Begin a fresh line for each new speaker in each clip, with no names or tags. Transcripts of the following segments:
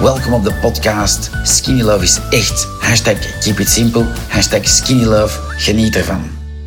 Welkom op de podcast. Skinny Love is echt. Hashtag keep it simple. Hashtag skinny love. Geniet ervan.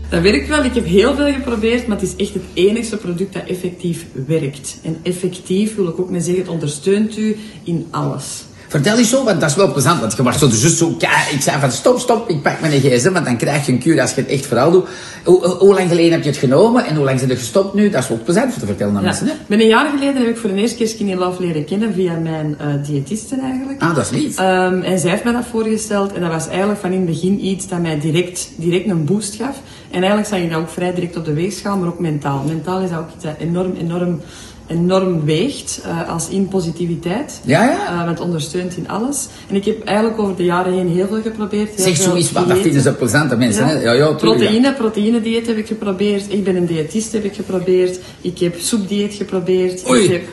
Dat werkt wel. Ik heb heel veel geprobeerd, maar het is echt het enige product dat effectief werkt. En effectief wil ik ook mee zeggen, het ondersteunt u in alles.
Vertel eens zo, want dat is wel plezant. Want je was zo, dus zo ja, ik zei van stop, stop, ik pak mijn gsm, want dan krijg je een kuur als je het echt verhaal doet. Hoe, hoe- hoe lang geleden heb je het genomen en hoe lang zijn er gestopt nu? Dat is ook plezant om te vertellen aan
Ja.
mensen. Hè?
Ben een jaar geleden heb ik voor de eerste keer Skinny Love leren kennen via mijn eh diëtisten eigenlijk.
Ah, dat is lief.
Ehm, en zij heeft mij dat voorgesteld en dat was eigenlijk van in het begin iets dat mij direct, direct een boost gaf. En eigenlijk zag je dat ook vrij direct op de weegschaal, maar ook mentaal. Mentaal is dat ook iets dat enorm, enorm, enorm weegt eh, als in positiviteit.
Ja, ja.
Eh, want het ondersteunt in alles. En ik heb eigenlijk over de jaren heen heel veel geprobeerd. heel
zeg
veel
zoiets, want dat
diëten.
vinden ze plezant aan mensen. Hè? Ja, ja, tuurlijk, ja.
proteïne, proteïne dieet heb ik geprobeerd. Ik ben een diëtist heb ik geprobeerd. Ik heb soepdieet geprobeerd.
Oei.
Ik heb...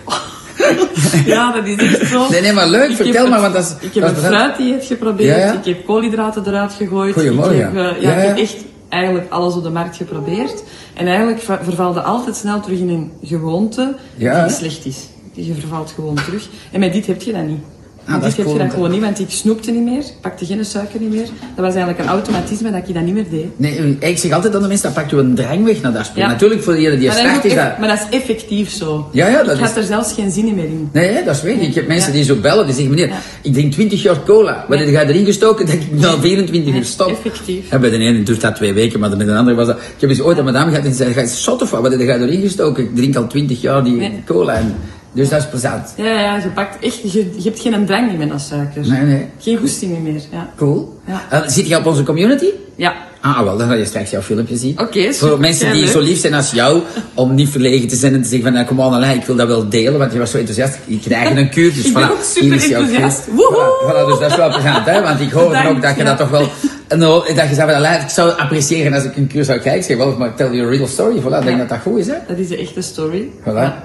ja, dat is echt zo.
Nee, nee, maar leuk,
Ik
vertel
heb
maar,
een-
want dat is-
Ik heb
dat
een
is bezig.
fruitdieet geprobeerd.
Ja, ja.
Ik heb koolhydraten eruit gegooid.
Goeiemorgen.
Ik heb, eh, ja,
Ja,
ik heb
ja.
echt eigenlijk alles op de markt geprobeerd. En eigenlijk ver- vervalde altijd snel terug in een gewoonte
Ja,
die
hè?
slecht is. Je vervalt gewoon terug. En met dit heb je dat niet.
Ah,
met dit
dat
heb
is
je
cool om
dat
te-
gewoon niet, want ik snoepte niet meer, pakte geen suiker niet meer. Dat was eigenlijk een automatisme dat ik dat niet meer deed.
Nee, ik zeg altijd aan de mensen, dat pakt u een drang weg naar dat spul.
Ja.
Natuurlijk, voor iedereen die
Maar dat, is
start
ook
is
eff-
dat...
maar dat is effectief zo.
Ja, ja, dat
ik had
is-
er zelfs geen zin in meer in.
Nee, hè, dat is weet ik. Ik heb mensen
Ja.
die zo bellen, die zeggen, meneer,
Ja.
ik drink 20 jaar cola. Wat
Ja.
heb jij erin gestoken dat ik na 24
Nee,
uur stop?
effectief.
Ja, bij de ene doet dat twee weken, maar met de andere was dat... Ik heb eens ooit een madame gehad en die zei, ga je zot of wat? Wat heb jij erin gestoken? Ik drink al 20 jaar die
Nee.
cola. En, dus dat is plezant.
Ja, ja, je pakt echt, je, je hebt geen drang meer naar suiker.
Nee, nee.
Geen goesting meer, ja.
Cool.
Ja.
Eh, zit je op onze community?
Ja,
Ah, wel, dan ga je straks jouw filmpje zien.
Oké, super,
Voor mensen die
leuk.
zo lief zijn als jou, om niet verlegen te zijn en te zeggen van, nou, kom aan, Alain, ik wil dat wel delen, want je was zo enthousiast. Je krijgt een kuur, dus
Ik ben
voilà,
ook super
hier is jouw
enthousiast.
kuur.
Woehoe!
Voilà, voilà, dus dat is wel plezant, hè, want ik hoor dan ook
Bedankt,
dat je
ja.
dat toch wel... Nou, dat je zei van, Alain, ik zou appreciëren als ik een kuur zou krijgen. Ik zeg, wel, maar tell your real story. Voilà, ik denk dat dat goed is, hè.
dat is de echte story.
Voilà.
Ja.